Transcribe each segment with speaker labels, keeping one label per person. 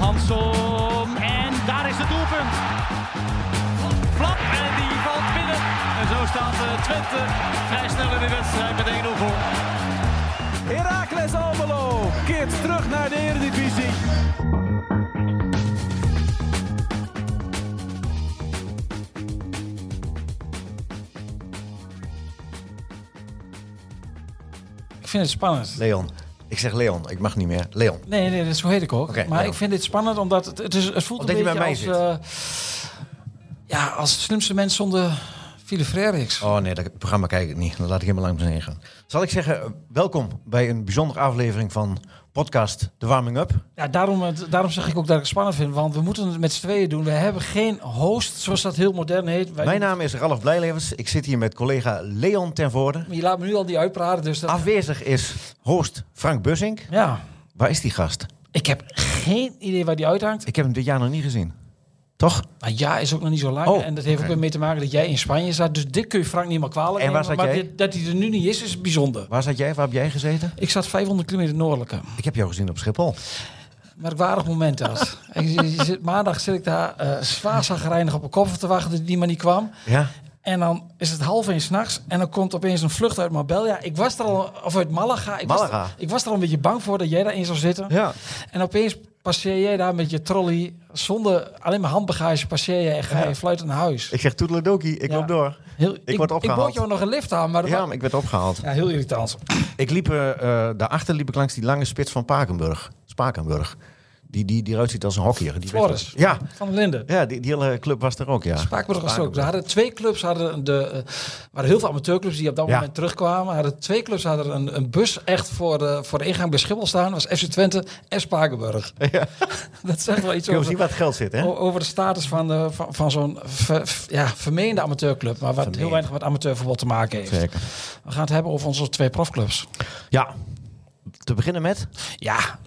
Speaker 1: Jansson. En daar is het doelpunt. Flap en die valt binnen. En zo staat eh, Twente vrij snel in de wedstrijd met 1-0 voor.
Speaker 2: Heracles Almelo keert terug naar de Eredivisie.
Speaker 3: Ik vind het spannend.
Speaker 4: Leon. Ik zeg Leon, ik mag niet meer. Leon.
Speaker 3: Nee, nee, dat zo heet ik ook.
Speaker 4: Oké,
Speaker 3: maar
Speaker 4: nou.
Speaker 3: ik vind dit spannend omdat het, het, is, het voelt
Speaker 4: Omdat
Speaker 3: een
Speaker 4: je bij
Speaker 3: beetje als...
Speaker 4: mij
Speaker 3: eh, ja, als het slimste mens zonder Philip Frerichs.
Speaker 4: Oh nee, dat programma kijk ik niet. Dan laat ik helemaal langs heen gaan. Zal ik zeggen, eh, welkom bij een bijzondere aflevering van podcast De Warming Up.
Speaker 3: Ja, daarom, het- daarom zeg ik ook dat ik het spannend vind. Want we moeten het met z'n tweeën doen. We hebben geen host, zoals dat heel modern heet. Wij-
Speaker 4: Mijn naam is Ralf Blijlevens. Ik zit hier met collega Leon ten Voorde.
Speaker 3: Je laat me nu al die uitpraten, dus dat...
Speaker 4: Afwezig is host Frank Bussink.
Speaker 3: Ja,
Speaker 4: Waar is die gast?
Speaker 3: ik heb geen idee waar die uithangt.
Speaker 4: Ik heb hem dit jaar nog niet gezien. Toch?
Speaker 3: Nou ja, is ook nog niet zo lang.
Speaker 4: Oh,
Speaker 3: en dat heeft
Speaker 4: oké.
Speaker 3: ook weer mee te maken dat jij in Spanje zat. Dus dit kun je Frank niet meer kwalijk
Speaker 4: En waar
Speaker 3: nemen.
Speaker 4: zat
Speaker 3: maar
Speaker 4: jij?
Speaker 3: dit- dat hij er nu niet is, is bijzonder.
Speaker 4: Waar zat jij? Waar heb jij gezeten?
Speaker 3: Ik zat 500 kilometer noordelijker.
Speaker 4: Ik heb jou gezien op Schiphol.
Speaker 3: Merkwaardig moment dat. Ik- je- je zit- maandag zit ik daar eh zwaar zagrijnig op een koffer te wachten die- die maar niet kwam.
Speaker 4: Ja?
Speaker 3: En dan is het half één s'nachts en dan komt opeens een vlucht uit Marbella. Ik was er al, of uit Malaga. Ik, Was,
Speaker 4: Malaga.
Speaker 3: er- ik was er al een beetje bang voor dat jij daarin zou zitten.
Speaker 4: Ja.
Speaker 3: En opeens passeer jij daar met je trolley. Zonder alleen maar handbagage passeer je en ga je
Speaker 4: Ja.
Speaker 3: fluitend naar huis.
Speaker 4: Ik zeg toedeledokie, ik
Speaker 3: Ja.
Speaker 4: loop door.
Speaker 3: Heel,
Speaker 4: word
Speaker 3: Ik
Speaker 4: opgehaald.
Speaker 3: bood jou nog een lift aan, maar dat
Speaker 4: Ja,
Speaker 3: wa-
Speaker 4: maar ik werd opgehaald.
Speaker 3: ja, heel irritant.
Speaker 4: Ik liep, eh eh, daarachter liep ik langs die lange spits van Spakenburg. Spakenburg. Die, die, die eruit ziet als een hockeyer. Die
Speaker 3: Flores.
Speaker 4: weet- Ja,
Speaker 3: Van Linden.
Speaker 4: ja die, die hele club was er ook, ja.
Speaker 3: Spakenburg was er ook. Ze hadden twee clubs, hadden de, eh, waren heel veel amateurclubs die op dat
Speaker 4: Ja.
Speaker 3: moment terugkwamen. Hadden twee clubs hadden een, een bus echt voor de, voor de ingang bij Schiphol staan. Dat was FC Twente en Spakenburg. Dat zegt wel iets
Speaker 4: Kun je
Speaker 3: over,
Speaker 4: zien waar het geld zit, hè?
Speaker 3: o- over de status van, de, van, van zo'n ver- f- ja, vermeende amateurclub. Maar wat heel
Speaker 4: Vermeend.
Speaker 3: weinig met amateurvoetbal te maken heeft.
Speaker 4: Zeker.
Speaker 3: We gaan het hebben over onze twee profclubs.
Speaker 4: Ja. Te beginnen met,
Speaker 3: Ja,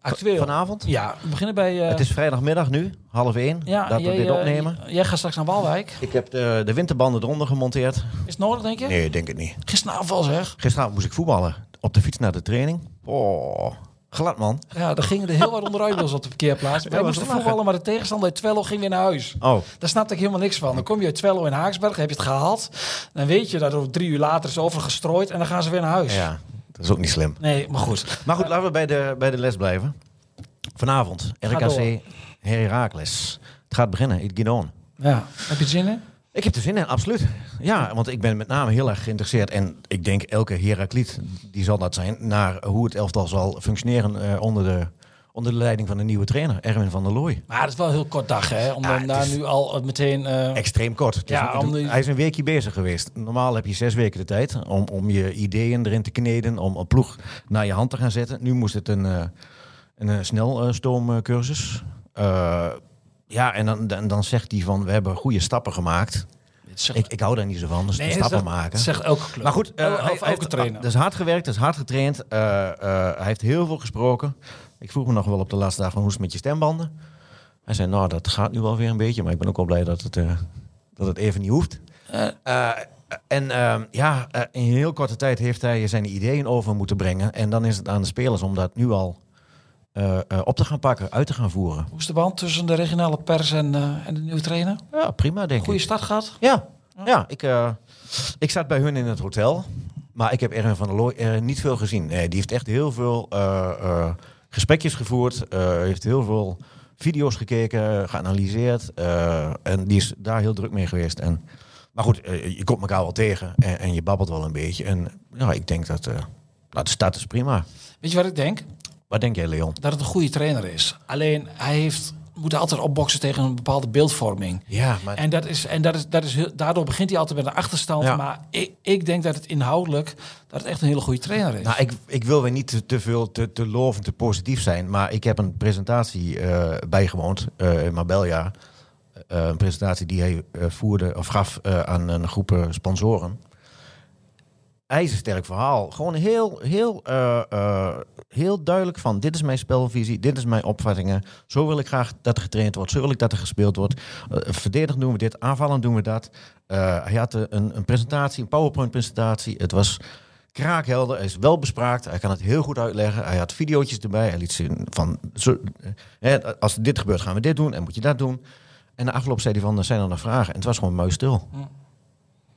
Speaker 3: actueel.
Speaker 4: vanavond.
Speaker 3: Ja, we beginnen bij... eh,
Speaker 4: Het is vrijdagmiddag nu, half één,
Speaker 3: ja,
Speaker 4: dat we
Speaker 3: jij,
Speaker 4: dit
Speaker 3: eh,
Speaker 4: opnemen.
Speaker 3: jij gaat straks naar Walwijk.
Speaker 4: Ik heb de, de winterbanden eronder gemonteerd.
Speaker 3: Is het nodig, denk je?
Speaker 4: Nee, ik denk het niet.
Speaker 3: Gisteravond al zeg.
Speaker 4: Gisteravond moest ik voetballen. Op de fiets naar de training. Oh, glad man.
Speaker 3: Ja, er gingen er heel wat onderuit bij ons op de parkeerplaats. Wij
Speaker 4: was
Speaker 3: moesten
Speaker 4: te lachen.
Speaker 3: voetballen, maar de tegenstander uit Twello ging weer naar huis.
Speaker 4: Oh,
Speaker 3: Daar snapte ik helemaal niks van. Dan kom je uit Twello in Haaksberg, heb je het gehaald. Dan weet je dat er drie uur later is overgestrooid en dan gaan ze weer naar huis.
Speaker 4: ja. Dat is ook niet slim.
Speaker 3: Nee, maar goed.
Speaker 4: Maar goed, laten we bij de, bij de les blijven. Vanavond,
Speaker 3: door.
Speaker 4: RKC Heracles. Het gaat beginnen, it get on.
Speaker 3: Ja. Heb je het zin in?
Speaker 4: Ik heb er zin in, absoluut. Ja, want ik ben met name heel erg geïnteresseerd. En ik denk elke Herakliet, die zal dat zijn, naar hoe het elftal zal functioneren eh, onder, de, onder de leiding van de nieuwe trainer, Erwin van der Looy.
Speaker 3: Maar het is wel een heel kort dag, hè? Om
Speaker 4: Ja,
Speaker 3: dan
Speaker 4: het
Speaker 3: daar
Speaker 4: is-
Speaker 3: nu al eh, meteen... eh,
Speaker 4: Extreem kort. Het is
Speaker 3: Ja,
Speaker 4: een-
Speaker 3: om die-
Speaker 4: Hij is een weekje bezig geweest. Normaal heb je zes weken de tijd om, om je ideeën erin te kneden, om een ploeg naar je hand te gaan zetten. Nu moest het een, eh, een eh, snelstoomcursus. Eh, ja, en dan, dan, dan zegt hij van, we hebben goede stappen gemaakt.
Speaker 3: het zegt-
Speaker 4: Ik, ik hou daar niet zo van, dus
Speaker 3: nee,
Speaker 4: stappen
Speaker 3: het zegt-
Speaker 4: maken.
Speaker 3: het Zegt elke club.
Speaker 4: Maar goed, eh,
Speaker 3: El-
Speaker 4: hij,
Speaker 3: of elke
Speaker 4: hij heeft,
Speaker 3: trainer.
Speaker 4: dat is hard gewerkt, dat is hard getraind. Eh, eh, hij heeft heel veel gesproken. Ik vroeg me nog wel op de laatste dag van hoe is het met je stembanden? Hij zei, nou, dat gaat nu wel weer een beetje, maar ik ben ook wel blij dat het, eh, dat het even niet hoeft. Eh, en ehm, ja, eh, in heel korte tijd heeft hij zijn ideeën over moeten brengen. En dan is het aan de spelers om dat nu al eh, eh, op te gaan pakken, uit te gaan voeren.
Speaker 3: Hoe is de band tussen de regionale pers en, eh, en de nieuwe trainer?
Speaker 4: Ja, prima denk ik.
Speaker 3: Goede start gehad?
Speaker 4: Ja, ja ik, eh, ik zat bij hun in het hotel. Maar ik heb Erwin van der Looy eh, niet veel gezien. Nee, die heeft echt heel veel eh, eh, gesprekjes gevoerd. eh, heeft heel veel video's gekeken, eh, geanalyseerd. eh, en die is daar heel druk mee geweest. En, maar goed, eh, je komt elkaar wel tegen en, en je babbelt wel een beetje. En ja, ik denk dat eh, nou, de start is prima.
Speaker 3: Weet je wat ik denk?
Speaker 4: Wat denk jij, Leon?
Speaker 3: dat het een goede trainer is. Alleen hij heeft, moet altijd opboksen tegen een bepaalde beeldvorming.
Speaker 4: Ja, maar...
Speaker 3: En, dat is, en dat is, dat is heel, daardoor begint hij altijd met een achterstand.
Speaker 4: Ja.
Speaker 3: Maar ik, ik denk dat het inhoudelijk dat het echt een hele goede trainer is.
Speaker 4: Nou, ik, ik wil weer niet te, te veel te, te lovend, te positief zijn. Maar ik heb een presentatie eh, bijgewoond eh, in Marbella. Eh, een presentatie die hij eh, voerde of gaf eh, aan een groep eh, sponsoren. IJzersterk verhaal. Gewoon heel, heel, eh, eh, heel duidelijk van dit is mijn spelvisie, dit is mijn opvattingen. Zo wil ik graag dat er getraind wordt, zo wil ik dat er gespeeld wordt. Eh verdedigend doen we dit, aanvallend doen we dat. Eh, hij had eh, een, een presentatie, een powerpoint presentatie. Het was kraakhelder. Hij is wel bespraakt. Hij kan het heel goed uitleggen. Hij had videootjes erbij. Hij liet zien van, zo, eh, hè, als dit gebeurt gaan we dit doen en moet je dat doen. En na afloop zei hij van, er zijn er nog vragen. En het was gewoon muisstil.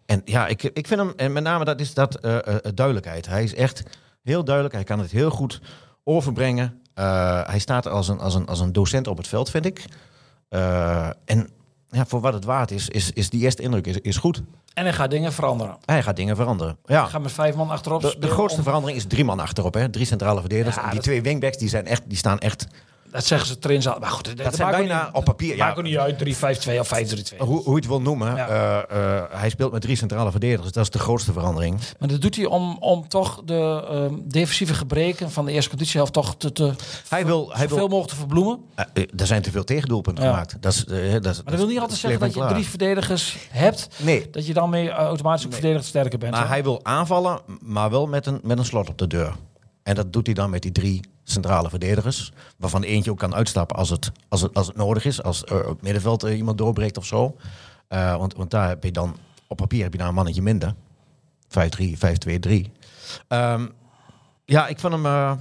Speaker 4: En ja, ik, ik vind hem, en met name dat is dat eh, eh, duidelijkheid. Hij is echt heel duidelijk. Hij kan het heel goed overbrengen. Eh, hij staat als een, als, een, als een docent op het veld, vind ik. Eh, en ja, voor wat het waard is, is, is die eerste indruk is, is goed.
Speaker 3: En hij gaat dingen veranderen.
Speaker 4: Hij gaat dingen veranderen. Ja.
Speaker 3: Hij gaat met vijf man achterop
Speaker 4: De, de
Speaker 3: spelen
Speaker 4: grootste
Speaker 3: om-
Speaker 4: verandering is drie man achterop, hè? drie centrale verdedigers.
Speaker 3: Ja,
Speaker 4: en die
Speaker 3: dat-
Speaker 4: twee wingbacks die zijn echt, die staan echt.
Speaker 3: Dat zeggen ze trains al. Maar goed, dat,
Speaker 4: zijn
Speaker 3: maakt ook
Speaker 4: bijna
Speaker 3: niet-
Speaker 4: op papier,
Speaker 3: dat
Speaker 4: ja.
Speaker 3: Maakt ook niet uit, 3-5-2 of 5-3-2.
Speaker 4: Hoe, hoe je het wil noemen,
Speaker 3: Ja.
Speaker 4: eh, eh, hij speelt met drie centrale verdedigers. Dat is de grootste verandering.
Speaker 3: Maar dat doet hij om, om toch de ehm, defensieve gebreken van de eerste competitiehelft toch te, te
Speaker 4: Hij wil, hij
Speaker 3: zoveel
Speaker 4: wil,
Speaker 3: mogelijk te verbloemen.
Speaker 4: eh, eh, er zijn te veel tegendoelpunten
Speaker 3: Ja.
Speaker 4: gemaakt. Dat is, eh, dat is,
Speaker 3: Maar dat wil niet altijd zeggen dat je drie verdedigers hebt,
Speaker 4: Nee,
Speaker 3: dat je dan mee eh, automatisch ook verdedigd sterker bent.
Speaker 4: maar
Speaker 3: hè?
Speaker 4: hij wil aanvallen, maar wel met een, met een slot op de deur. En dat doet hij dan met die drie centrale verdedigers. Waarvan eentje ook kan uitstappen als het, als het, als het nodig is. Als er op het middenveld eh, iemand doorbreekt of zo. Eh, want, want daar heb je dan, op papier heb je daar een mannetje minder. 5-3, 5-2-3. Ehm, ja, ik vond hem... eh,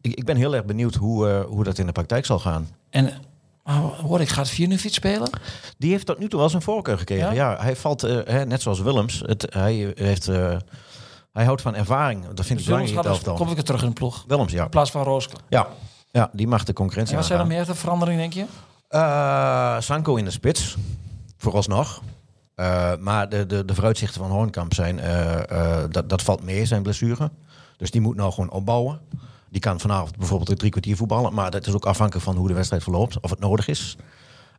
Speaker 4: ik, ik ben heel erg benieuwd hoe, eh, hoe dat in de praktijk zal gaan.
Speaker 3: En eh, ah, hoor ik, gaat Viernefiets spelen?
Speaker 4: Die heeft tot nu toe wel zijn voorkeur gekregen.
Speaker 3: Ja?
Speaker 4: Ja, hij valt, eh, hè, net zoals Willems, het, hij, heeft, eh, hij houdt van ervaring. Dat vind
Speaker 3: Willems
Speaker 4: ik belangrijk in
Speaker 3: gaat
Speaker 4: het
Speaker 3: als-
Speaker 4: elftal.
Speaker 3: komt ik er terug in de ploeg.
Speaker 4: Willems, ja.
Speaker 3: In plaats van Rooske.
Speaker 4: ja. Ja, die mag de
Speaker 3: En
Speaker 4: concurrentie
Speaker 3: wat zijn er
Speaker 4: aangaan.
Speaker 3: meer de verandering, denk je?
Speaker 4: Eh, Sanko in de spits, vooralsnog. Eh, maar de, de, de vooruitzichten van Hoornkamp zijn, eh, eh, dat, dat valt mee, zijn blessure. Dus die moet nou gewoon opbouwen. Die kan vanavond bijvoorbeeld drie kwartier voetballen. Maar dat is ook afhankelijk van hoe de wedstrijd verloopt, of het nodig is.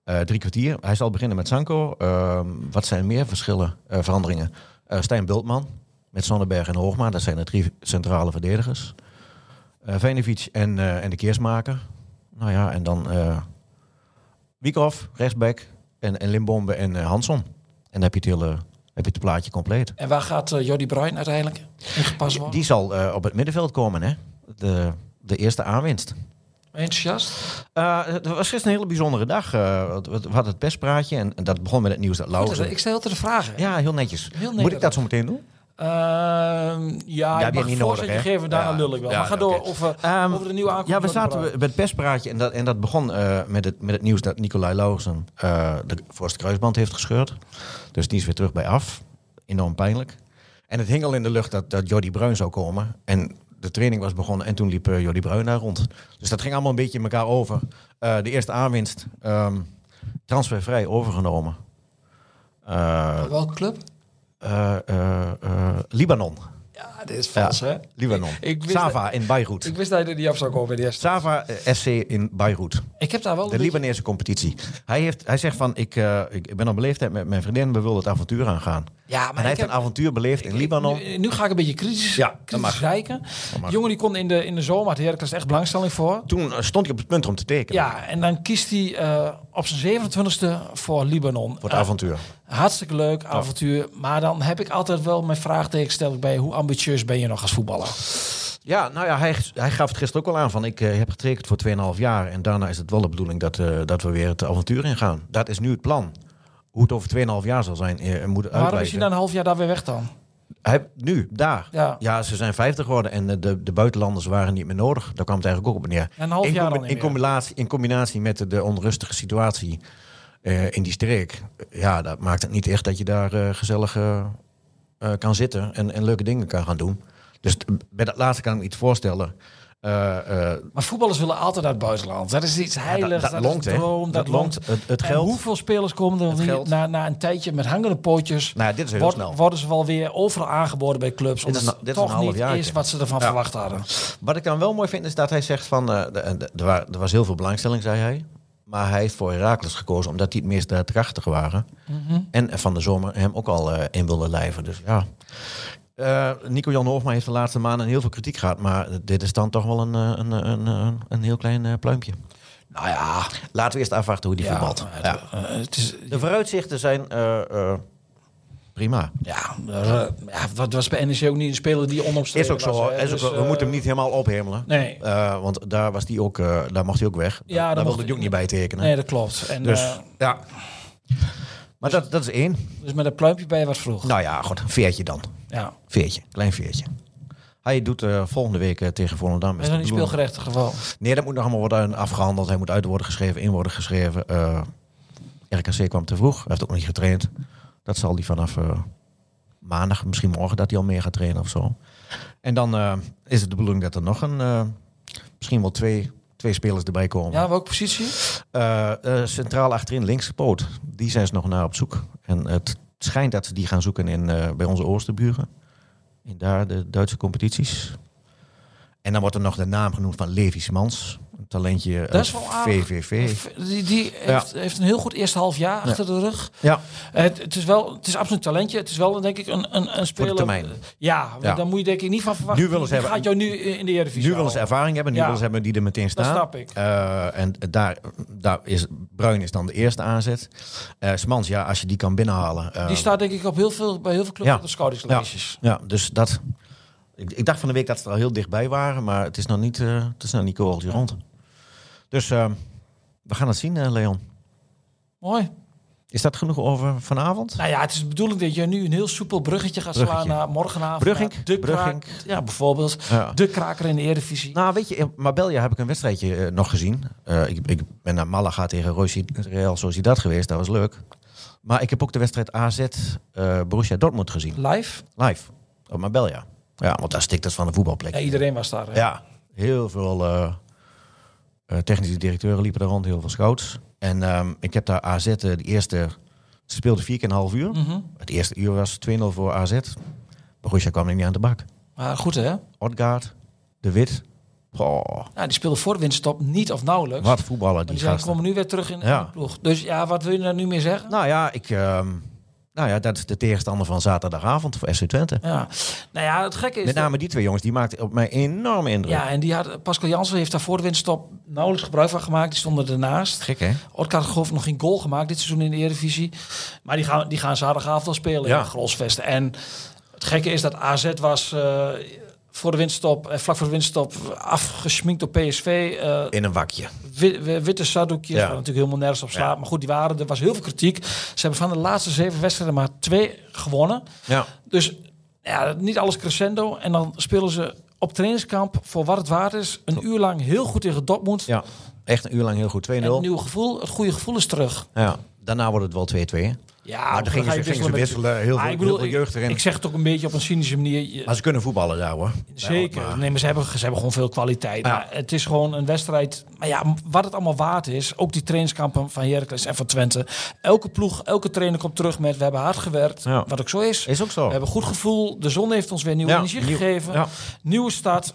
Speaker 4: Eh, drie kwartier. Hij zal beginnen met Sanko. Ehm, wat zijn meer verschillen, eh, veranderingen? Eh, Stijn Bultman met Sonnenberg en Hoogma. Dat zijn de drie centrale verdedigers. Eh Venevic en, eh, en de Keersmaker. Nou ja, en dan eh Wiekhoff, rechtsback. En, en Limbombe en eh, Hanson. En dan heb je het hele heb je het plaatje compleet.
Speaker 3: En waar gaat eh, Jordi Bruin uiteindelijk ingepast worden?
Speaker 4: Die zal eh, op het middenveld komen, hè? De, de eerste aanwinst.
Speaker 3: Enthousiast?
Speaker 4: Eh, het was gisteren een hele bijzondere dag. Eh, we we hadden het bestpraatje en, en dat begon met het nieuws dat
Speaker 3: Goed, eh,
Speaker 4: Lauwers...
Speaker 3: Ik stel heel te de vragen.
Speaker 4: Ja, heel netjes.
Speaker 3: netjes.
Speaker 4: Moet ik dat zo meteen doen?
Speaker 3: Ehm, ja,
Speaker 4: heb
Speaker 3: ik
Speaker 4: je
Speaker 3: mag
Speaker 4: niet
Speaker 3: niet
Speaker 4: nodig,
Speaker 3: nodig,
Speaker 4: hè?
Speaker 3: geven, daarna
Speaker 4: Ja.
Speaker 3: lul ik wel.
Speaker 4: Ja,
Speaker 3: maar ga door
Speaker 4: oké.
Speaker 3: over,
Speaker 4: Ehm,
Speaker 3: over de nieuwe aankomst.
Speaker 4: Ja, we zaten bij het perspraatje en dat, en dat begon eh, met, het, met het nieuws dat Nicolai Lauwersen eh, de voorste kruisband heeft gescheurd. Dus die is weer terug bij af. Enorm pijnlijk. En het hing al in de lucht dat, dat Jordi Bruin zou komen. En de training was begonnen en toen liep eh, Jordi Bruin daar rond. Dus dat ging allemaal een beetje in elkaar over. Eh, de eerste aanwinst, ehm, transfervrij overgenomen. Eh,
Speaker 3: Welke club?
Speaker 4: eh, eh, eh, Libanon.
Speaker 3: Ja, dit is
Speaker 4: Ja,
Speaker 3: vals, hè?
Speaker 4: Libanon.
Speaker 3: Ik wist
Speaker 4: Sava in Beirut.
Speaker 3: Ik wist dat je er niet af zou komen in de eerste.
Speaker 4: Sava eh, SC in Beirut.
Speaker 3: Ik heb daar wel
Speaker 4: De
Speaker 3: een beetje-
Speaker 4: Libanese competitie. Hij, heeft, hij zegt van, ik, eh, ik ben op leeftijd met mijn vriendin, we willen het avontuur aangaan.
Speaker 3: Ja,
Speaker 4: en hij
Speaker 3: ik
Speaker 4: heeft
Speaker 3: heb-
Speaker 4: een avontuur beleefd in Libanon.
Speaker 3: Nu, nu ga ik een beetje kritisch,
Speaker 4: Ja,
Speaker 3: ja,
Speaker 4: dat mag.
Speaker 3: kritisch kijken.
Speaker 4: mag.
Speaker 3: De jongen die kon in de, in de zomer, had Heracles echt belangstelling voor.
Speaker 4: Toen eh, stond hij op het punt om te tekenen
Speaker 3: Ja, en dan kiest hij eh, op zijn 27e voor Libanon.
Speaker 4: voor het
Speaker 3: Eh,
Speaker 4: avontuur.
Speaker 3: hartstikke leuk, avontuur. Maar dan heb ik altijd wel mijn vraagtekens stel ik bij hoe ambitieus ben je nog als voetballer?
Speaker 4: Ja, nou ja, hij, hij gaf het gisteren ook al aan van, ik eh, heb getekend voor 2,5 jaar. En daarna is het wel de bedoeling dat, eh, dat we weer het avontuur ingaan. Dat is nu het plan. Hoe het over 2,5 jaar zal zijn, eh, moet het
Speaker 3: Waarom is
Speaker 4: uitwijzen.
Speaker 3: hij na een half jaar daar weer weg dan?
Speaker 4: Hij, nu, daar. Ja.
Speaker 3: Ja.
Speaker 4: ze zijn 50 geworden en eh, de, de buitenlanders waren niet meer nodig. Daar kwam het eigenlijk ook op neer.
Speaker 3: Een half
Speaker 4: in,
Speaker 3: jaar
Speaker 4: combi-
Speaker 3: dan niet
Speaker 4: in,
Speaker 3: meer.
Speaker 4: combinatie, in combinatie met de, de onrustige situatie eh, in die streek. eh, Ja, dat maakt het niet echt dat je daar eh, gezellig eh, eh, kan zitten en, en leuke dingen kan gaan doen. Dus t- bij dat laatste kan ik me iets voorstellen. Eh, eh,
Speaker 3: Maar voetballers willen altijd uit het buitenland. Dat is iets heiligs,
Speaker 4: dat
Speaker 3: dat,
Speaker 4: longt,
Speaker 3: is
Speaker 4: hè?
Speaker 3: een droom, dat,
Speaker 4: Dat longt.
Speaker 3: longt.
Speaker 4: Het- het
Speaker 3: En
Speaker 4: geld.
Speaker 3: hoeveel spelers komen er weer
Speaker 4: geld.
Speaker 3: na, na een tijdje met hangende pootjes?
Speaker 4: nou ja, dit is heel
Speaker 3: word-
Speaker 4: snel.
Speaker 3: Worden ze wel weer overal aangeboden bij clubs?
Speaker 4: Dit is
Speaker 3: Omdat
Speaker 4: een-
Speaker 3: het
Speaker 4: dit is een
Speaker 3: toch
Speaker 4: half
Speaker 3: niet
Speaker 4: jaartje.
Speaker 3: is wat ze ervan
Speaker 4: Ja.
Speaker 3: verwacht hadden.
Speaker 4: Wat ik dan wel mooi vind is dat hij zegt van... eh, de- de- er, wa- er was heel veel belangstelling, zei hij. Maar hij heeft voor Herakles gekozen omdat die het meest daadkrachtig waren. En eh, van de zomer hem ook al eh, in wilde lijven. Dus ja. Eh, Nico-Jan Hoofma heeft de laatste maanden heel veel kritiek gehad. Maar dit is dan toch wel een, eh, een, een, een, een heel klein eh, pluimpje.
Speaker 3: Nou ja,
Speaker 4: Laten we eerst afwachten hoe die voetbalt.
Speaker 3: nou ja,
Speaker 4: Ja.
Speaker 3: eh, het is,
Speaker 4: De vooruitzichten zijn eh, eh, prima.
Speaker 3: ja, eh, ja, wat was bij NEC ook niet een speler die
Speaker 4: Is
Speaker 3: onomstreden
Speaker 4: ook zo.
Speaker 3: was,
Speaker 4: hoor.
Speaker 3: hè?
Speaker 4: Is ook
Speaker 3: Dus,
Speaker 4: zo. we
Speaker 3: eh,
Speaker 4: moeten hem niet helemaal ophemelen.
Speaker 3: Nee,
Speaker 4: Eh, want daar, was die ook, eh, daar mocht hij ook weg.
Speaker 3: Ja, daar
Speaker 4: daar
Speaker 3: mocht
Speaker 4: wilde hij
Speaker 3: hij-
Speaker 4: ook niet bij tekenen.
Speaker 3: nee, dat klopt. En,
Speaker 4: Dus,
Speaker 3: dus,
Speaker 4: ja. Maar dat, dat is één.
Speaker 3: dus met een pluimpje bij was vroeg.
Speaker 4: Nou ja, goed. Veertje dan.
Speaker 3: Ja.
Speaker 4: Veertje. Klein veertje. Hij doet eh, volgende week eh, tegen Volendam.
Speaker 3: Hij is nog niet
Speaker 4: de bedoeling-
Speaker 3: speelgerechtig geval.
Speaker 4: Nee, dat moet nog allemaal worden afgehandeld. Hij moet uit worden geschreven, in worden geschreven. Eh, RKC kwam te vroeg. Hij heeft ook nog niet getraind. Dat zal hij vanaf eh, maandag, misschien morgen, dat hij al meer gaat trainen of zo. En dan eh, is het de bedoeling dat er nog een, eh, misschien wel twee, twee spelers erbij komen.
Speaker 3: Ja, welke positie?
Speaker 4: Eh, eh, centraal achterin, linkspoot. Die zijn ze nog naar op zoek. En het schijnt dat ze die gaan zoeken in, eh, bij onze oosterburen. In daar de Duitse competities. En dan wordt er nog de naam genoemd van Levi Smans. Een talentje eh, uit
Speaker 3: Dat is wel aardig.
Speaker 4: VVV.
Speaker 3: Die, die heeft, heeft een heel goed eerste half jaar achter de rug. Eh,
Speaker 4: Ja,
Speaker 3: Het, het is wel, het is absoluut een talentje. Het is wel, denk ik, een, een, een speler.
Speaker 4: termijn.
Speaker 3: Ja, want
Speaker 4: Ja.
Speaker 3: daar moet je denk ik niet van verwachten.
Speaker 4: Nu willen ze
Speaker 3: Die
Speaker 4: hebben-
Speaker 3: gaat jou nu in de Eredivisie
Speaker 4: nu willen ze
Speaker 3: halen.
Speaker 4: ervaring hebben. Nu
Speaker 3: Ja.
Speaker 4: willen ze hebben die er meteen
Speaker 3: Dat
Speaker 4: staan.
Speaker 3: snap ik.
Speaker 4: Eh, en daar, daar is, Bruin is dan de eerste aanzet. Eh, Smans, ja, als je die kan binnenhalen. eh,
Speaker 3: Die staat denk ik op heel veel, bij heel veel clubs
Speaker 4: Ja.
Speaker 3: op de scoutingslijstjes.
Speaker 4: Ja, dus dat. Ik, ik dacht van de week dat ze er al heel dichtbij waren, maar het is nog niet, eh het is nog niet korreltje rond. Dus eh, we gaan het zien, eh, Leon.
Speaker 3: Mooi.
Speaker 4: Is dat genoeg over vanavond?
Speaker 3: Nou ja, het is de bedoeling dat je nu een heel soepel bruggetje gaat
Speaker 4: Bruggetje.
Speaker 3: slaan naar morgenavond.
Speaker 4: Brugging,
Speaker 3: naar nou, de
Speaker 4: brugging.
Speaker 3: kraak- ja, bijvoorbeeld.
Speaker 4: Ja.
Speaker 3: De kraker in de Eredivisie.
Speaker 4: Nou, weet je, in Marbella heb ik een wedstrijdje eh, nog gezien. Eh, ik, ik ben naar Malaga tegen Rosi- Real Sociedad geweest, dat was leuk. Maar ik heb ook de wedstrijd AZ eh, Borussia Dortmund gezien,
Speaker 3: Live.
Speaker 4: live, op Marbella. Ja, want daar stikt het van de voetbalplek.
Speaker 3: Ja, iedereen was daar. hè?
Speaker 4: Ja, heel veel eh, eh, technische directeuren liepen daar rond, heel veel scouts. En ehm, ik heb daar AZ, eh, de eerste, ze speelden vier keer een half uur.
Speaker 3: Mhm.
Speaker 4: Het eerste uur was 2-0 voor AZ. Borussia kwam er niet aan de bak.
Speaker 3: Maar goed hè.
Speaker 4: Odgaard, De Wit. Goh,
Speaker 3: Ja, die speelde voor de winststop niet of nauwelijks.
Speaker 4: wat voetballen
Speaker 3: Maar
Speaker 4: die
Speaker 3: die zijn,
Speaker 4: gasten.
Speaker 3: komen nu weer terug in, in
Speaker 4: Ja.
Speaker 3: de ploeg. Dus ja, wat wil je daar nu meer zeggen?
Speaker 4: Nou ja, ik, ehm, nou ja, dat is de tegenstander van zaterdagavond voor SC Twente.
Speaker 3: Ja. Nou ja, het gekke is...
Speaker 4: Met name die twee jongens, die maakten op mij enorme
Speaker 3: dat-
Speaker 4: indruk.
Speaker 3: ja, en die had, Pascal Jansen heeft daar voor de winststop nauwelijks gebruik van gemaakt. Die stonden ernaast.
Speaker 4: Gek hè?
Speaker 3: Orkaard heeft nog geen goal gemaakt dit seizoen in de Eredivisie. Maar die gaan, die gaan zaterdagavond al spelen
Speaker 4: Ja.
Speaker 3: in Grosvesten. En het gekke is dat AZ was eh, voor de winststop, eh, vlak voor de winststop, afgesminkt door PSV. eh,
Speaker 4: In een wakje.
Speaker 3: wi- wi- witte saddoekjes,
Speaker 4: Ja.
Speaker 3: waar natuurlijk helemaal nergens op slaat. Maar goed, die waren, er was heel veel kritiek. Ze hebben van de laatste zeven wedstrijden maar twee gewonnen.
Speaker 4: Ja.
Speaker 3: Dus ja, niet alles crescendo. En dan spelen ze op trainingskamp, voor wat het waard is, een uur lang heel goed tegen Dortmund.
Speaker 4: ja, echt een uur lang heel goed. 2-0.
Speaker 3: En het nieuwe gevoel, het goede gevoel is terug.
Speaker 4: Ja, daarna wordt het wel 2-2. hè?
Speaker 3: Ja,
Speaker 4: Maar dan gingen
Speaker 3: ga je
Speaker 4: ze- gingen
Speaker 3: met-
Speaker 4: ze wisselen, heel
Speaker 3: Maar
Speaker 4: veel-
Speaker 3: ik bedoel,
Speaker 4: heel veel jeugd erin.
Speaker 3: Ik, ik zeg het ook een beetje op een cynische manier. Je-
Speaker 4: Maar ze kunnen voetballen daar hoor.
Speaker 3: zeker.
Speaker 4: Ja, maar-
Speaker 3: nee, maar ze hebben, ze hebben gewoon veel kwaliteit.
Speaker 4: Ja.
Speaker 3: Maar het is gewoon een wedstrijd. Maar ja, m- wat het allemaal waard is. Ook die trainingskampen van Heracles en van Twente. Elke ploeg, elke trainer komt terug met... we hebben hard gewerkt,
Speaker 4: Ja.
Speaker 3: wat ook zo is.
Speaker 4: Is ook zo.
Speaker 3: We hebben goed gevoel. De zon heeft ons weer nieuwe
Speaker 4: Ja,
Speaker 3: energie
Speaker 4: nieuw-
Speaker 3: gegeven.
Speaker 4: ja.
Speaker 3: Nieuwe stad.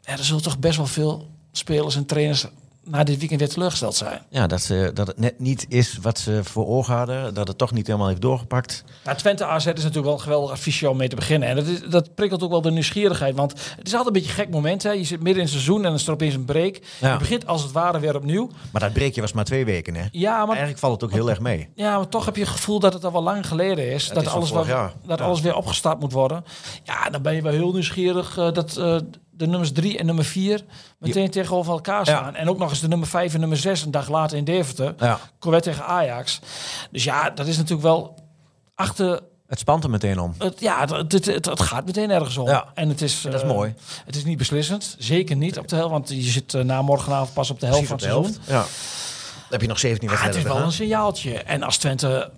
Speaker 3: Ja, er zullen toch best wel veel spelers en trainers... na dit weekend weer teleurgesteld zijn.
Speaker 4: Ja, dat, ze, dat het net niet is wat ze voor ogen hadden. Dat het toch niet helemaal heeft doorgepakt.
Speaker 3: Nou, Twente AZ is natuurlijk wel een geweldig affiche om mee te beginnen. En dat, is, dat prikkelt ook wel de nieuwsgierigheid. Want het is altijd een beetje een gek moment. Hè? Je zit midden in het seizoen en dan is er opeens een break.
Speaker 4: Ja.
Speaker 3: Je begint als het ware weer opnieuw.
Speaker 4: Maar dat breekje was maar twee weken hè.
Speaker 3: Ja, maar,
Speaker 4: Eigenlijk valt het ook heel erg mee.
Speaker 3: ja, maar toch heb je het gevoel dat het al wel lang geleden is. dat
Speaker 4: is al
Speaker 3: alles,
Speaker 4: vorig
Speaker 3: wel-
Speaker 4: jaar.
Speaker 3: dat
Speaker 4: Ja.
Speaker 3: alles weer opgestart moet worden. Ja, dan ben je wel heel nieuwsgierig eh, dat eh, de nummers 3 en nummer 4 meteen tegenover elkaar
Speaker 4: Ja.
Speaker 3: staan. En ook nog eens de nummer 5 en nummer 6 een dag later in Deventer.
Speaker 4: Ja.
Speaker 3: Corvette tegen Ajax. Dus ja, dat is natuurlijk wel achter
Speaker 4: Het spant er meteen om.
Speaker 3: Het, ja, het, het, het, het gaat meteen ergens om.
Speaker 4: Ja.
Speaker 3: En het is,
Speaker 4: dat is
Speaker 3: eh,
Speaker 4: mooi.
Speaker 3: Het is niet beslissend. Zeker niet op de helft. Want je zit eh, na morgenavond pas op de helft
Speaker 4: Precies
Speaker 3: van
Speaker 4: op
Speaker 3: het
Speaker 4: de
Speaker 3: seizoen.
Speaker 4: helft. Ja. Dan heb je nog 17
Speaker 3: Ah, het is
Speaker 4: wedstrijden
Speaker 3: wel een
Speaker 4: te
Speaker 3: signaaltje. En als Twente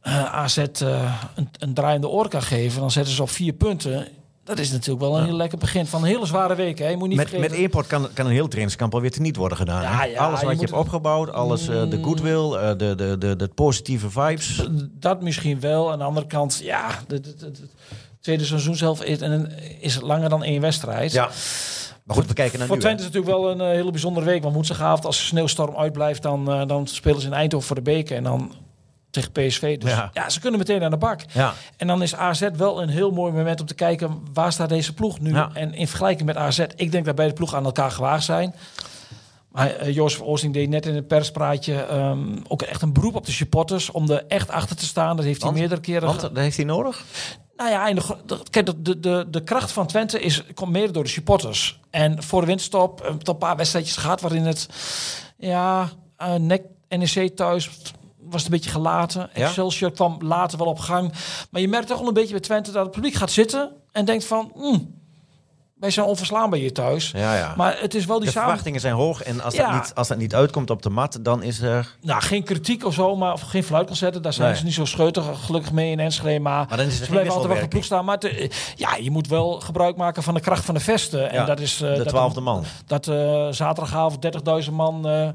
Speaker 3: eh, AZ eh, een, een draaiende oor kan geven, dan zetten ze op vier punten. Dat is natuurlijk wel een heel lekker begin van een hele zware week. Hè. Je moet
Speaker 4: gaan.
Speaker 3: niet
Speaker 4: Met, met
Speaker 3: vergeten-
Speaker 4: import kan, kan een heel trainingskamp alweer teniet worden gedaan. hè?
Speaker 3: Ja, ja, je
Speaker 4: alles wat je,
Speaker 3: moet Mm.
Speaker 4: hebt
Speaker 3: het-
Speaker 4: opgebouwd, alles, eh, de goodwill, eh, de, de, de, de positieve vibes.
Speaker 3: dat misschien wel. Aan de andere kant, ja, de- de- de- de- het tweede seizoen zelf is, en, is langer dan één wedstrijd.
Speaker 4: Ja. Maar goed, we kijken naar
Speaker 3: Voor
Speaker 4: nu. hè.
Speaker 3: Twente is het natuurlijk wel een eh, hele bijzondere week. Want woensdagavond, als de sneeuwstorm uitblijft, dan, eh, dan spelen ze in Eindhoven voor de beker. En dan tegen PSV. Dus
Speaker 4: Ja.
Speaker 3: ja. ze kunnen meteen aan de bak.
Speaker 4: Ja.
Speaker 3: En dan is AZ wel een heel mooi moment om te kijken... waar staat deze ploeg nu?
Speaker 4: Ja.
Speaker 3: En in vergelijking met AZ, ik denk dat beide ploegen aan elkaar gewaagd zijn. Maar eh, Jozef Oosting deed net in het perspraatje ehm, ook echt een beroep op de supporters... om er echt achter te staan. Dat heeft
Speaker 4: Want-
Speaker 3: hij meerdere keren...
Speaker 4: Want
Speaker 3: ge-
Speaker 4: dat heeft hij nodig?
Speaker 3: nou ja, en de, gro- de- kijk, de- de, de, de kracht van Twente is, komt mede door de supporters. En voor de winterstop eh, een paar wedstrijdjes gehad waarin het... Ja, eh, NEC, NEC thuis was het een beetje gelaten.
Speaker 4: Ja.
Speaker 3: Excelsior kwam later wel op gang. Maar je merkt toch wel een beetje bij Twente dat het publiek gaat zitten... en denkt van... "Hmm, Wij zijn onverslaanbaar hier thuis.
Speaker 4: Ja, ja.
Speaker 3: Maar het is wel die
Speaker 4: de
Speaker 3: samen...
Speaker 4: verwachtingen zijn hoog en als,
Speaker 3: Ja.
Speaker 4: dat niet, als dat niet uitkomt op de mat, dan is er...
Speaker 3: Nou, geen kritiek of zo, maar of geen fluit kan zetten. Daar zijn
Speaker 4: Nee.
Speaker 3: ze niet zo scheutig, gelukkig mee in Enschede. Maar,
Speaker 4: Maar dan is het
Speaker 3: ze
Speaker 4: geen
Speaker 3: blijven altijd wel
Speaker 4: wisselwerking.
Speaker 3: geploegd staan. Maar het- eh, ja, je moet wel gebruik maken van de kracht van de vesten. En
Speaker 4: Ja,
Speaker 3: dat is eh,
Speaker 4: de
Speaker 3: dat-
Speaker 4: twaalfde man.
Speaker 3: dat eh, zaterdagavond 30.000 man eh,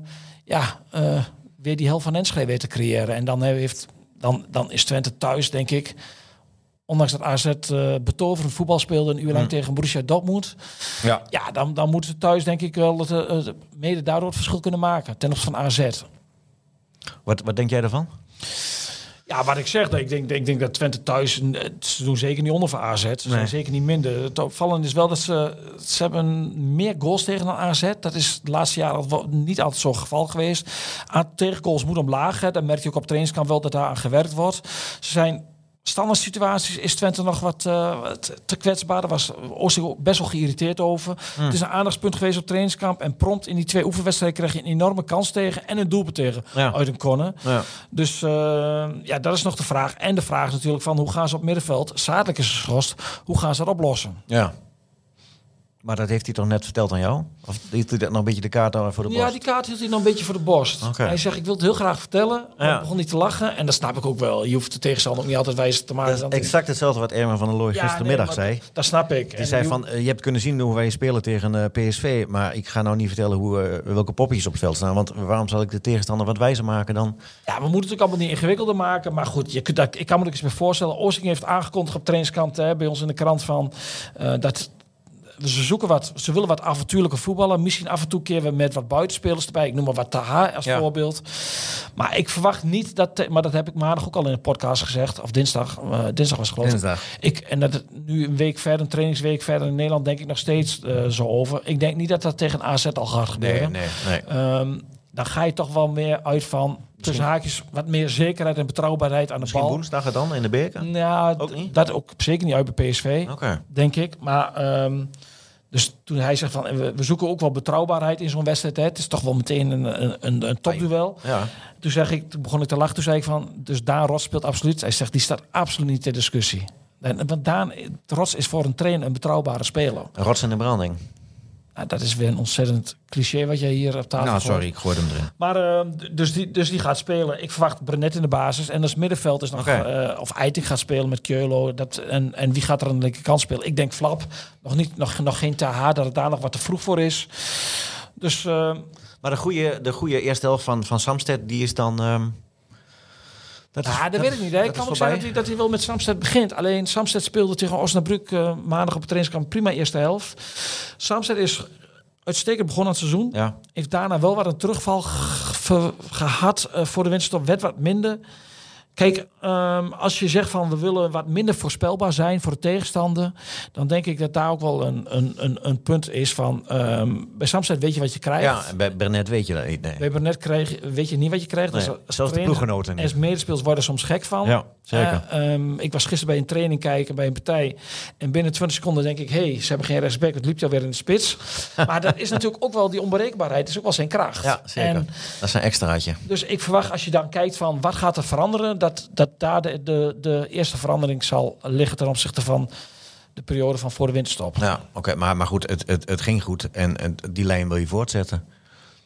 Speaker 3: ja, eh, weer die helft van Enschede weer te creëren. En dan, heeft, dan, dan is Twente thuis, denk ik. Ondanks dat AZ eh, betoverend voetbal speelde een uur
Speaker 4: Mm.
Speaker 3: lang tegen Borussia Dortmund.
Speaker 4: Ja.
Speaker 3: Ja, dan, dan moeten ze thuis denk ik wel het, eh, het mede daardoor het verschil kunnen maken ten opzichte van AZ.
Speaker 4: Wat, wat denk jij daarvan?
Speaker 3: Ja, wat ik zeg, dat ik denk, denk, denk dat Twente thuis, eh, ze doen zeker niet onder voor AZ. Ze
Speaker 4: Nee.
Speaker 3: zijn zeker niet minder. Het opvallende is wel dat ze, ze hebben meer goals tegen dan AZ. Dat is de laatste jaren wel niet altijd zo'n geval geweest. Aan tegengoals moet omlaag. Hè. Dan merk je ook op trainingskamp wel dat daar aan gewerkt wordt. Ze zijn... Standaard situaties is Twente nog wat eh, wat te kwetsbaar. Daar was Oosting ook best wel geïrriteerd over.
Speaker 4: Hmm.
Speaker 3: Het is een aandachtspunt geweest op trainingskamp. En prompt in die twee oefenwedstrijden kreeg je een enorme kans tegen. En een doelpunt tegen
Speaker 4: Ja.
Speaker 3: uit een corner.
Speaker 4: Ja.
Speaker 3: Dus eh, ja, dat is nog de vraag. En de vraag is natuurlijk van hoe gaan ze op middenveld, zadelijk is geschorst, hoe gaan ze dat oplossen?
Speaker 4: Ja. Maar dat heeft hij toch net verteld aan jou? Of liet hij dat nog een beetje de kaart aan voor de
Speaker 3: Ja,
Speaker 4: borst?
Speaker 3: die kaart hield hij nog een beetje voor de borst.
Speaker 4: Oké.
Speaker 3: Hij zegt, ik wil het heel graag vertellen. Maar
Speaker 4: Ja.
Speaker 3: hij begon niet te lachen. En dat snap ik ook wel. Je hoeft de tegenstander ook niet altijd wijs te maken.
Speaker 4: Dat is
Speaker 3: Dan-
Speaker 4: exact hetzelfde wat Erwin van der Looy
Speaker 3: Ja,
Speaker 4: gistermiddag
Speaker 3: nee, maar
Speaker 4: zei.
Speaker 3: dat- Dat snap ik.
Speaker 4: Die zei van, eh, je hebt kunnen zien hoe wij spelen tegen eh, PSV, maar ik ga nou niet vertellen hoe, eh, welke poppetjes op het veld staan, want waarom zal ik de tegenstander wat wijzer maken dan?
Speaker 3: Ja, we moeten het ook allemaal niet ingewikkelder maken. Maar goed, je, kunt daar- ik kan me er ook eens meer voorstellen. Oosting heeft aangekondigd op trainingskant hè, bij ons in de krant van eh, dat. Ze zoeken wat, ze willen wat avontuurlijke voetballen. Misschien af en toe keer we met wat buitenspelers erbij. Ik noem maar wat Taha als
Speaker 4: Ja.
Speaker 3: voorbeeld. Maar ik verwacht niet dat, maar dat heb ik maandag ook al in de podcast gezegd. Of dinsdag, eh, dinsdag was het geloof ik.
Speaker 4: Dinsdag.
Speaker 3: Ik, en dat het nu een week verder, een trainingsweek verder in Nederland, denk ik nog steeds eh, zo over. Ik denk niet dat dat tegen AZ al gaat gebeuren.
Speaker 4: nee.
Speaker 3: Ehm, dan ga je toch wel meer uit van tussen haakjes wat meer zekerheid en betrouwbaarheid aan de
Speaker 4: Misschien
Speaker 3: bal.
Speaker 4: woensdag het dan in de beker?
Speaker 3: Ja, d-
Speaker 4: Ook niet?
Speaker 3: dat ook zeker niet uit bij PSV,
Speaker 4: Oké.
Speaker 3: denk ik. Maar ehm, dus toen hij zegt van eh, we, we zoeken ook wel betrouwbaarheid in zo'n wedstrijd. Hè. Het is toch wel meteen een, een, een, een topduel.
Speaker 4: Ja.
Speaker 3: Toen, zeg ik, toen begon ik te lachen. Toen zei ik van, dus Daan Rots speelt absoluut. Hij zegt, die staat absoluut niet ter discussie. En, want Daan Rots is voor een trainer een betrouwbare speler.
Speaker 4: Een Rots in de branding.
Speaker 3: Nou, dat is weer een ontzettend cliché wat jij hier op tafel
Speaker 4: Nou,
Speaker 3: gooit.
Speaker 4: sorry, ik gooi hem erin.
Speaker 3: Maar eh, d- dus, die, dus die gaat spelen. Ik verwacht Brenet in de basis. En als middenveld is nog.
Speaker 4: Oké.
Speaker 3: eh, of Eiting gaat spelen met Keulo. Dat, en, en wie gaat er aan de linkerkant spelen? Ik denk Flap. Nog, niet, nog, nog geen TH, dat het daar nog wat te vroeg voor is. Dus eh,
Speaker 4: Maar de goede, de goede eerste helft van, van Samsted, die is dan... ehm, dat
Speaker 3: ah, dat,
Speaker 4: dat
Speaker 3: weet ik niet. Hè.
Speaker 4: dat
Speaker 3: Ik kan
Speaker 4: is
Speaker 3: ook
Speaker 4: voorbij.
Speaker 3: zijn dat hij, dat hij wel met Samsted begint. Alleen Samsted speelde tegen Osnabrück eh, maandag op het trainingskamp. Prima eerste helft. Samsted is uitstekend begonnen aan het seizoen.
Speaker 4: Ja,
Speaker 3: heeft daarna wel wat een terugval ge- ge- gehad eh, voor de winststop. Werd wat minder. Kijk, ehm, als je zegt van we willen wat minder voorspelbaar zijn voor de tegenstander, dan denk ik dat daar ook wel een, een, een, een punt is van ehm, bij Samsted weet je wat je krijgt.
Speaker 4: ja en bij Bernet weet je dat niet, nee.
Speaker 3: Bij Burnett kreeg, weet je niet wat je krijgt.
Speaker 4: Nee,
Speaker 3: Dus als
Speaker 4: zelfs de
Speaker 3: trainer
Speaker 4: ploeggenoten
Speaker 3: En
Speaker 4: niet.
Speaker 3: als medespelers worden er soms gek van.
Speaker 4: Ja, zeker.
Speaker 3: Eh, ehm, ik was gisteren bij een training kijken bij een partij. En binnen 20 seconden denk ik, hé, hey, ze hebben geen rechtsback. Het liep alweer in de spits. maar dat is natuurlijk ook wel die onberekenbaarheid. is ook wel zijn kracht.
Speaker 4: Ja, zeker.
Speaker 3: En
Speaker 4: Dat is een extraatje.
Speaker 3: dus ik verwacht als je dan kijkt van wat gaat er veranderen, dat, dat daar de, de, de eerste verandering zal liggen ten opzichte van de periode van voor de winterstop.
Speaker 4: Ja, oké, maar, maar goed, het, het, het ging goed en, en die lijn wil je voortzetten.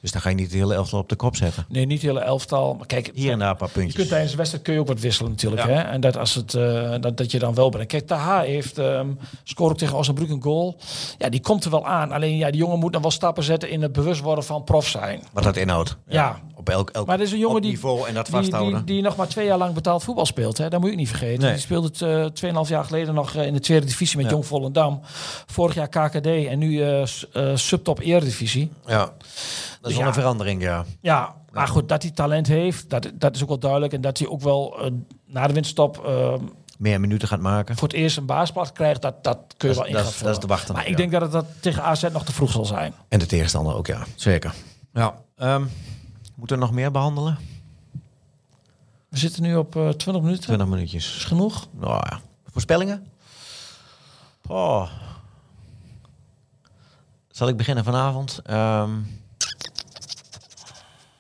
Speaker 4: Dus dan ga je niet de hele elftal op de kop zetten.
Speaker 3: Nee, niet het hele elftal. Maar kijk,
Speaker 4: Hier en daar een paar
Speaker 3: Je kunt
Speaker 4: puntjes.
Speaker 3: tijdens de wedstrijd kun je ook wat wisselen natuurlijk.
Speaker 4: Ja.
Speaker 3: Hè? En dat, als het, eh, dat, dat je dan wel brengt. Kijk, Taha heeft ehm scoort ook tegen Osnabrück een goal. Ja, die komt er wel aan. Alleen ja, die jongen moet nog wel stappen zetten in het bewust worden van prof zijn.
Speaker 4: Wat dat inhoudt.
Speaker 3: Ja.
Speaker 4: Op elk, elk
Speaker 3: Maar er is een jongen
Speaker 4: op
Speaker 3: die,
Speaker 4: niveau en dat
Speaker 3: die,
Speaker 4: vasthouden.
Speaker 3: die, die nog maar twee jaar lang betaald voetbal speelt. Hè? Dat moet je ook niet vergeten.
Speaker 4: Nee.
Speaker 3: Die speelde het eh, 2,5 jaar geleden nog eh, in de tweede divisie met
Speaker 4: Ja.
Speaker 3: Jong Volendam. Vorig jaar KKD en nu eh, s- eh, subtop eredivisie.
Speaker 4: Ja. Dat is wel
Speaker 3: ja.
Speaker 4: een verandering, ja.
Speaker 3: Ja, maar goed, dat hij talent heeft, dat, dat is ook wel duidelijk. En dat hij ook wel eh, na de winststop ehm,
Speaker 4: Meer minuten gaat maken.
Speaker 3: voor het eerst een baasplaats krijgt, dat, dat kun je
Speaker 4: Dat
Speaker 3: wel
Speaker 4: is-
Speaker 3: in
Speaker 4: dat
Speaker 3: gaan
Speaker 4: is- dat is te
Speaker 3: vullen.
Speaker 4: wachten,
Speaker 3: Maar ik
Speaker 4: ja.
Speaker 3: denk dat het dat tegen AZ nog te vroeg zal zijn.
Speaker 4: En de tegenstander ook, ja. Zeker. Ja. ehm, moeten we nog meer behandelen?
Speaker 3: We zitten nu op eh 20 minuten.
Speaker 4: 20 minuutjes.
Speaker 3: Is genoeg?
Speaker 4: Nou ja. Voorspellingen? Oh. Zal ik beginnen vanavond? Ehm,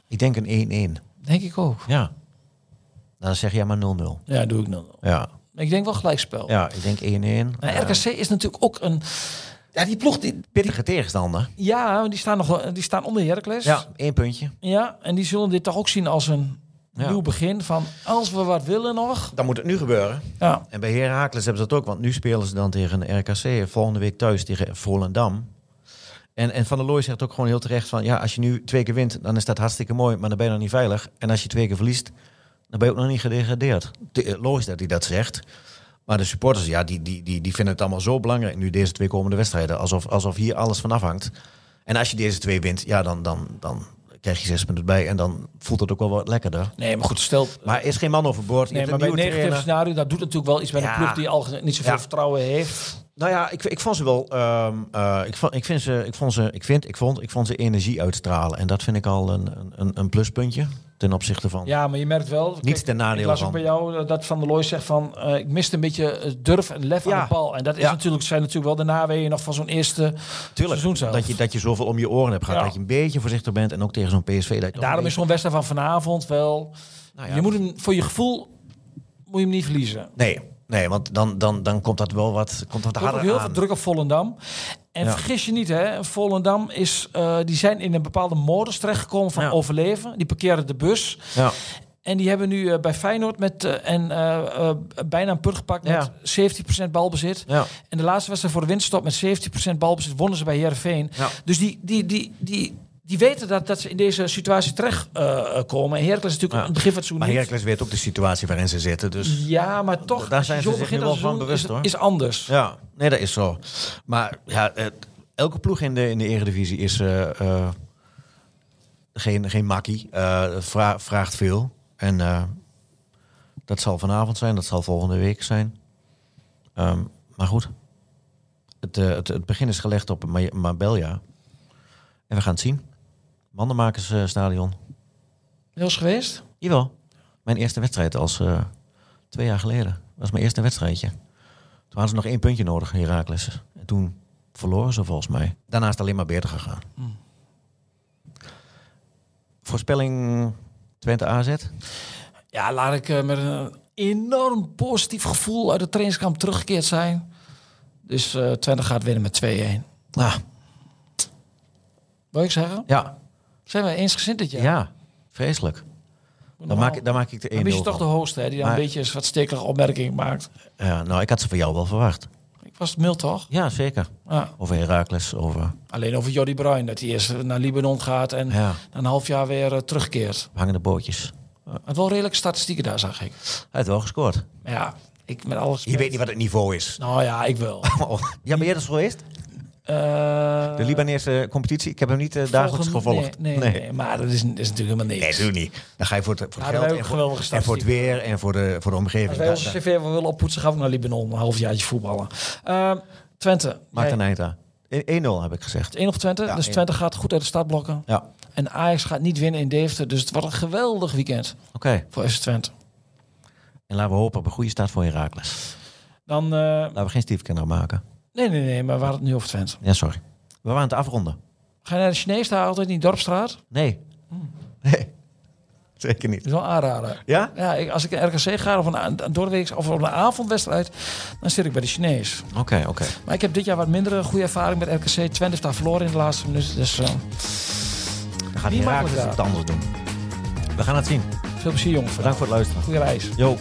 Speaker 4: ik denk een 1-1.
Speaker 3: Denk ik ook.
Speaker 4: Ja. Dan zeg jij maar 0-0.
Speaker 3: Ja, doe ik dan.
Speaker 4: Ja.
Speaker 3: Ik denk wel gelijkspel.
Speaker 4: Ja, ik denk 1-1.
Speaker 3: Maar RKC is natuurlijk ook een...
Speaker 4: Ja, die ploeg, die pittige tegenstander.
Speaker 3: Ja, die staan, nog, wel- die staan onder Heracles.
Speaker 4: Ja, één puntje.
Speaker 3: Ja, en die zullen dit toch ook zien als een
Speaker 4: Ja.
Speaker 3: nieuw begin. Van als we wat willen nog.
Speaker 4: Dan moet het nu gebeuren.
Speaker 3: Ja,
Speaker 4: En bij Heracles hebben ze dat ook, want nu spelen ze dan tegen RKC. Volgende week thuis tegen Volendam. En, en Van der Looy zegt ook gewoon heel terecht van... ja, als je nu twee keer wint, dan is dat hartstikke mooi... maar dan ben je nog niet veilig. En als je twee keer verliest, dan ben je ook nog niet gedegradeerd. Te- eh, Logisch dat hij dat zegt. Maar de supporters, ja, die, die, die, die vinden het allemaal zo belangrijk... nu deze twee komende wedstrijden, alsof, alsof hier alles van afhangt. En als je deze twee wint, ja, dan, dan, dan krijg je zes punten bij... en dan voelt het ook wel wat lekkerder.
Speaker 3: nee, maar goed, stel.
Speaker 4: Maar er is geen man overboord. Je
Speaker 3: Nee,
Speaker 4: hebt
Speaker 3: maar
Speaker 4: een
Speaker 3: bij het
Speaker 4: nieuwe
Speaker 3: negatieve
Speaker 4: trainer.
Speaker 3: scenario, dat doet natuurlijk wel iets met
Speaker 4: Ja.
Speaker 3: een ploeg die al niet zoveel
Speaker 4: Ja.
Speaker 3: vertrouwen heeft.
Speaker 4: Nou ja, ik, ik vond ze wel. ehm, eh, ik, vond, ik, vind ze, ik vond ze. Ik vind. Ik vond. Ik vond ze energie uitstralen. En dat vind ik al een, een, een pluspuntje ten opzichte van.
Speaker 3: Ja, maar je merkt wel. kijk,
Speaker 4: Niets ten nadele
Speaker 3: Ik las ook
Speaker 4: van.
Speaker 3: bij jou eh, dat Van der Looy zegt van... eh, ik miste een beetje eh, durf en lef
Speaker 4: Ja.
Speaker 3: aan de bal. En dat is
Speaker 4: Ja.
Speaker 3: natuurlijk, zijn natuurlijk wel de naweeën nog van zo'n eerste seizoen zelf.
Speaker 4: Dat je, dat je zoveel om je oren hebt gehad.
Speaker 3: Ja.
Speaker 4: Dat je een beetje voorzichtig bent. En ook tegen zo'n PSV. Dat je toch
Speaker 3: Daarom
Speaker 4: een
Speaker 3: is zo'n wedstrijd van vanavond wel...
Speaker 4: beetje- nou ja,
Speaker 3: je moet hem, voor je gevoel moet je hem niet verliezen.
Speaker 4: Nee, nee want dan, dan, dan komt dat wel wat. Komt dat
Speaker 3: Er wordt
Speaker 4: harder
Speaker 3: ook heel
Speaker 4: aan.
Speaker 3: veel druk op Volendam. En
Speaker 4: Ja.
Speaker 3: vergis je niet, hè, Volendam is, eh, die zijn in een bepaalde modus terechtgekomen van
Speaker 4: Ja.
Speaker 3: overleven. Die parkeren de bus.
Speaker 4: Ja.
Speaker 3: En die hebben nu eh, bij Feyenoord met, eh, en, eh, eh, bijna een put gepakt met
Speaker 4: Ja.
Speaker 3: 17% balbezit.
Speaker 4: Ja.
Speaker 3: En de laatste wedstrijd voor de winststop met 17% balbezit wonnen ze bij Heerenveen.
Speaker 4: Ja.
Speaker 3: Dus die, die, die, die, die weten dat, dat ze in deze situatie terecht eh, eh, komen. En Heracles is natuurlijk
Speaker 4: Ja.
Speaker 3: aan het begin van het seizoen
Speaker 4: Maar
Speaker 3: niet.
Speaker 4: Heracles weet ook de situatie waarin ze zitten. Dus
Speaker 3: Ja, maar toch,
Speaker 4: Daar zijn ze
Speaker 3: zo'n
Speaker 4: zich
Speaker 3: begin
Speaker 4: nu
Speaker 3: aan
Speaker 4: wel
Speaker 3: het seizoen
Speaker 4: van bewust,
Speaker 3: is,
Speaker 4: hoor.
Speaker 3: is anders.
Speaker 4: Ja, nee, dat is zo. Maar ja, eh, elke ploeg in de, in de Eredivisie is eh, eh, geen, geen makkie. Eh, vra- vraagt veel. En eh, dat zal vanavond zijn, dat zal volgende week zijn. Ehm, maar goed, het, eh, het, het begin is gelegd op Ma- Marbella. En we gaan het zien. eh, Mandenmakersstadion.
Speaker 3: Heel eens geweest?
Speaker 4: Jawel. Mijn eerste wedstrijd als eh, twee jaar geleden. Dat was mijn eerste wedstrijdje. Toen hadden ze nog één puntje nodig, Herakles. En toen verloren ze volgens mij. Daarna is het alleen maar beter gegaan. Voorspelling Twente AZ.
Speaker 3: Ja, laat ik eh, met een enorm positief gevoel uit de trainingskamp teruggekeerd zijn. Dus eh Twente gaat winnen met 2-1.
Speaker 4: Ah,
Speaker 3: Wil ik zeggen?
Speaker 4: ja.
Speaker 3: Zijn we eensgezind dit
Speaker 4: Ja.
Speaker 3: jaar?
Speaker 4: vreselijk. Dan
Speaker 3: Normaal.
Speaker 4: maak, ik- dan maak ik de
Speaker 3: Nou, Dan is
Speaker 4: één nul
Speaker 3: je toch de
Speaker 4: van.
Speaker 3: host, hè, die dan
Speaker 4: Maar-
Speaker 3: een beetje eens wat stekelige opmerking maakt.
Speaker 4: Ja, nou, ik had ze van jou wel verwacht.
Speaker 3: Ik was het mild, toch?
Speaker 4: Ja, zeker.
Speaker 3: Ja.
Speaker 4: Over Herakles, over
Speaker 3: Alleen over Jordi Bruin, dat hij eerst naar Libanon gaat en
Speaker 4: Ja.
Speaker 3: na een half jaar weer eh, terugkeert.
Speaker 4: hangende bootjes.
Speaker 3: Maar wel redelijke statistieken daar, zag ik.
Speaker 4: Hij heeft wel gescoord.
Speaker 3: Maar ja, ik met alles.
Speaker 4: Je weet niet wat het niveau is.
Speaker 3: Nou ja, ik wel.
Speaker 4: Ja, ben jij dat zo geweest?
Speaker 3: Eh,
Speaker 4: De Libanese competitie, ik heb hem niet eh, dagelijks
Speaker 3: volgende-
Speaker 4: gevolgd.
Speaker 3: Nee, nee, nee, maar dat is, dat is natuurlijk helemaal niks.
Speaker 4: Nee, natuurlijk niet. Dan ga je voor het, voor het
Speaker 3: Ja, dan
Speaker 4: geld
Speaker 3: hebben we
Speaker 4: en
Speaker 3: ook
Speaker 4: voor,
Speaker 3: geweldige
Speaker 4: en voor het weer en voor de, voor de omgeving.
Speaker 3: Als wij
Speaker 4: Da-
Speaker 3: onze
Speaker 4: da-
Speaker 3: cv wel willen oppoetsen, gaan we naar Libanon. Een halfjaartje voetballen. Eh, Twente.
Speaker 4: Maakt een
Speaker 3: nee,
Speaker 4: eind aan. E- 1-0 heb ik gezegd.
Speaker 3: 1 op Twente.
Speaker 4: Ja,
Speaker 3: dus
Speaker 4: één.
Speaker 3: Twente gaat goed uit de startblokken.
Speaker 4: Ja, oké.
Speaker 3: En Ajax gaat niet winnen in Deventer. Dus het wordt een geweldig weekend voor FC Twente.
Speaker 4: En laten we hopen op een goede start voor Herakles.
Speaker 3: Dan, eh,
Speaker 4: Laten we geen stiefkinder maken.
Speaker 3: nee, nee, nee, maar waar het nu over Twente.
Speaker 4: Ja, sorry. We waren aan het afronden.
Speaker 3: Ga je naar de Chinees daar altijd in die dorpstraat? Dat
Speaker 4: Nee.
Speaker 3: Hm.
Speaker 4: Nee. Zeker niet.
Speaker 3: is wel aanraden.
Speaker 4: Ja?
Speaker 3: Ja, ik, als ik naar RKC ga of een, a- een doorweeks of op een avondwedstrijd, dan zit ik bij de Chinees.
Speaker 4: Oké, oké.
Speaker 3: Maar ik heb dit jaar wat minder eh, goede ervaring met RKC. Twente heeft daar verloren in de laatste minuut. Dus eh,
Speaker 4: Dan gaat
Speaker 3: Wie mag
Speaker 4: Herakles
Speaker 3: het
Speaker 4: het anders doen. We gaan het zien.
Speaker 3: veel plezier jongen.
Speaker 4: Bedankt voor het luisteren.
Speaker 3: Goede reis.
Speaker 4: Yo.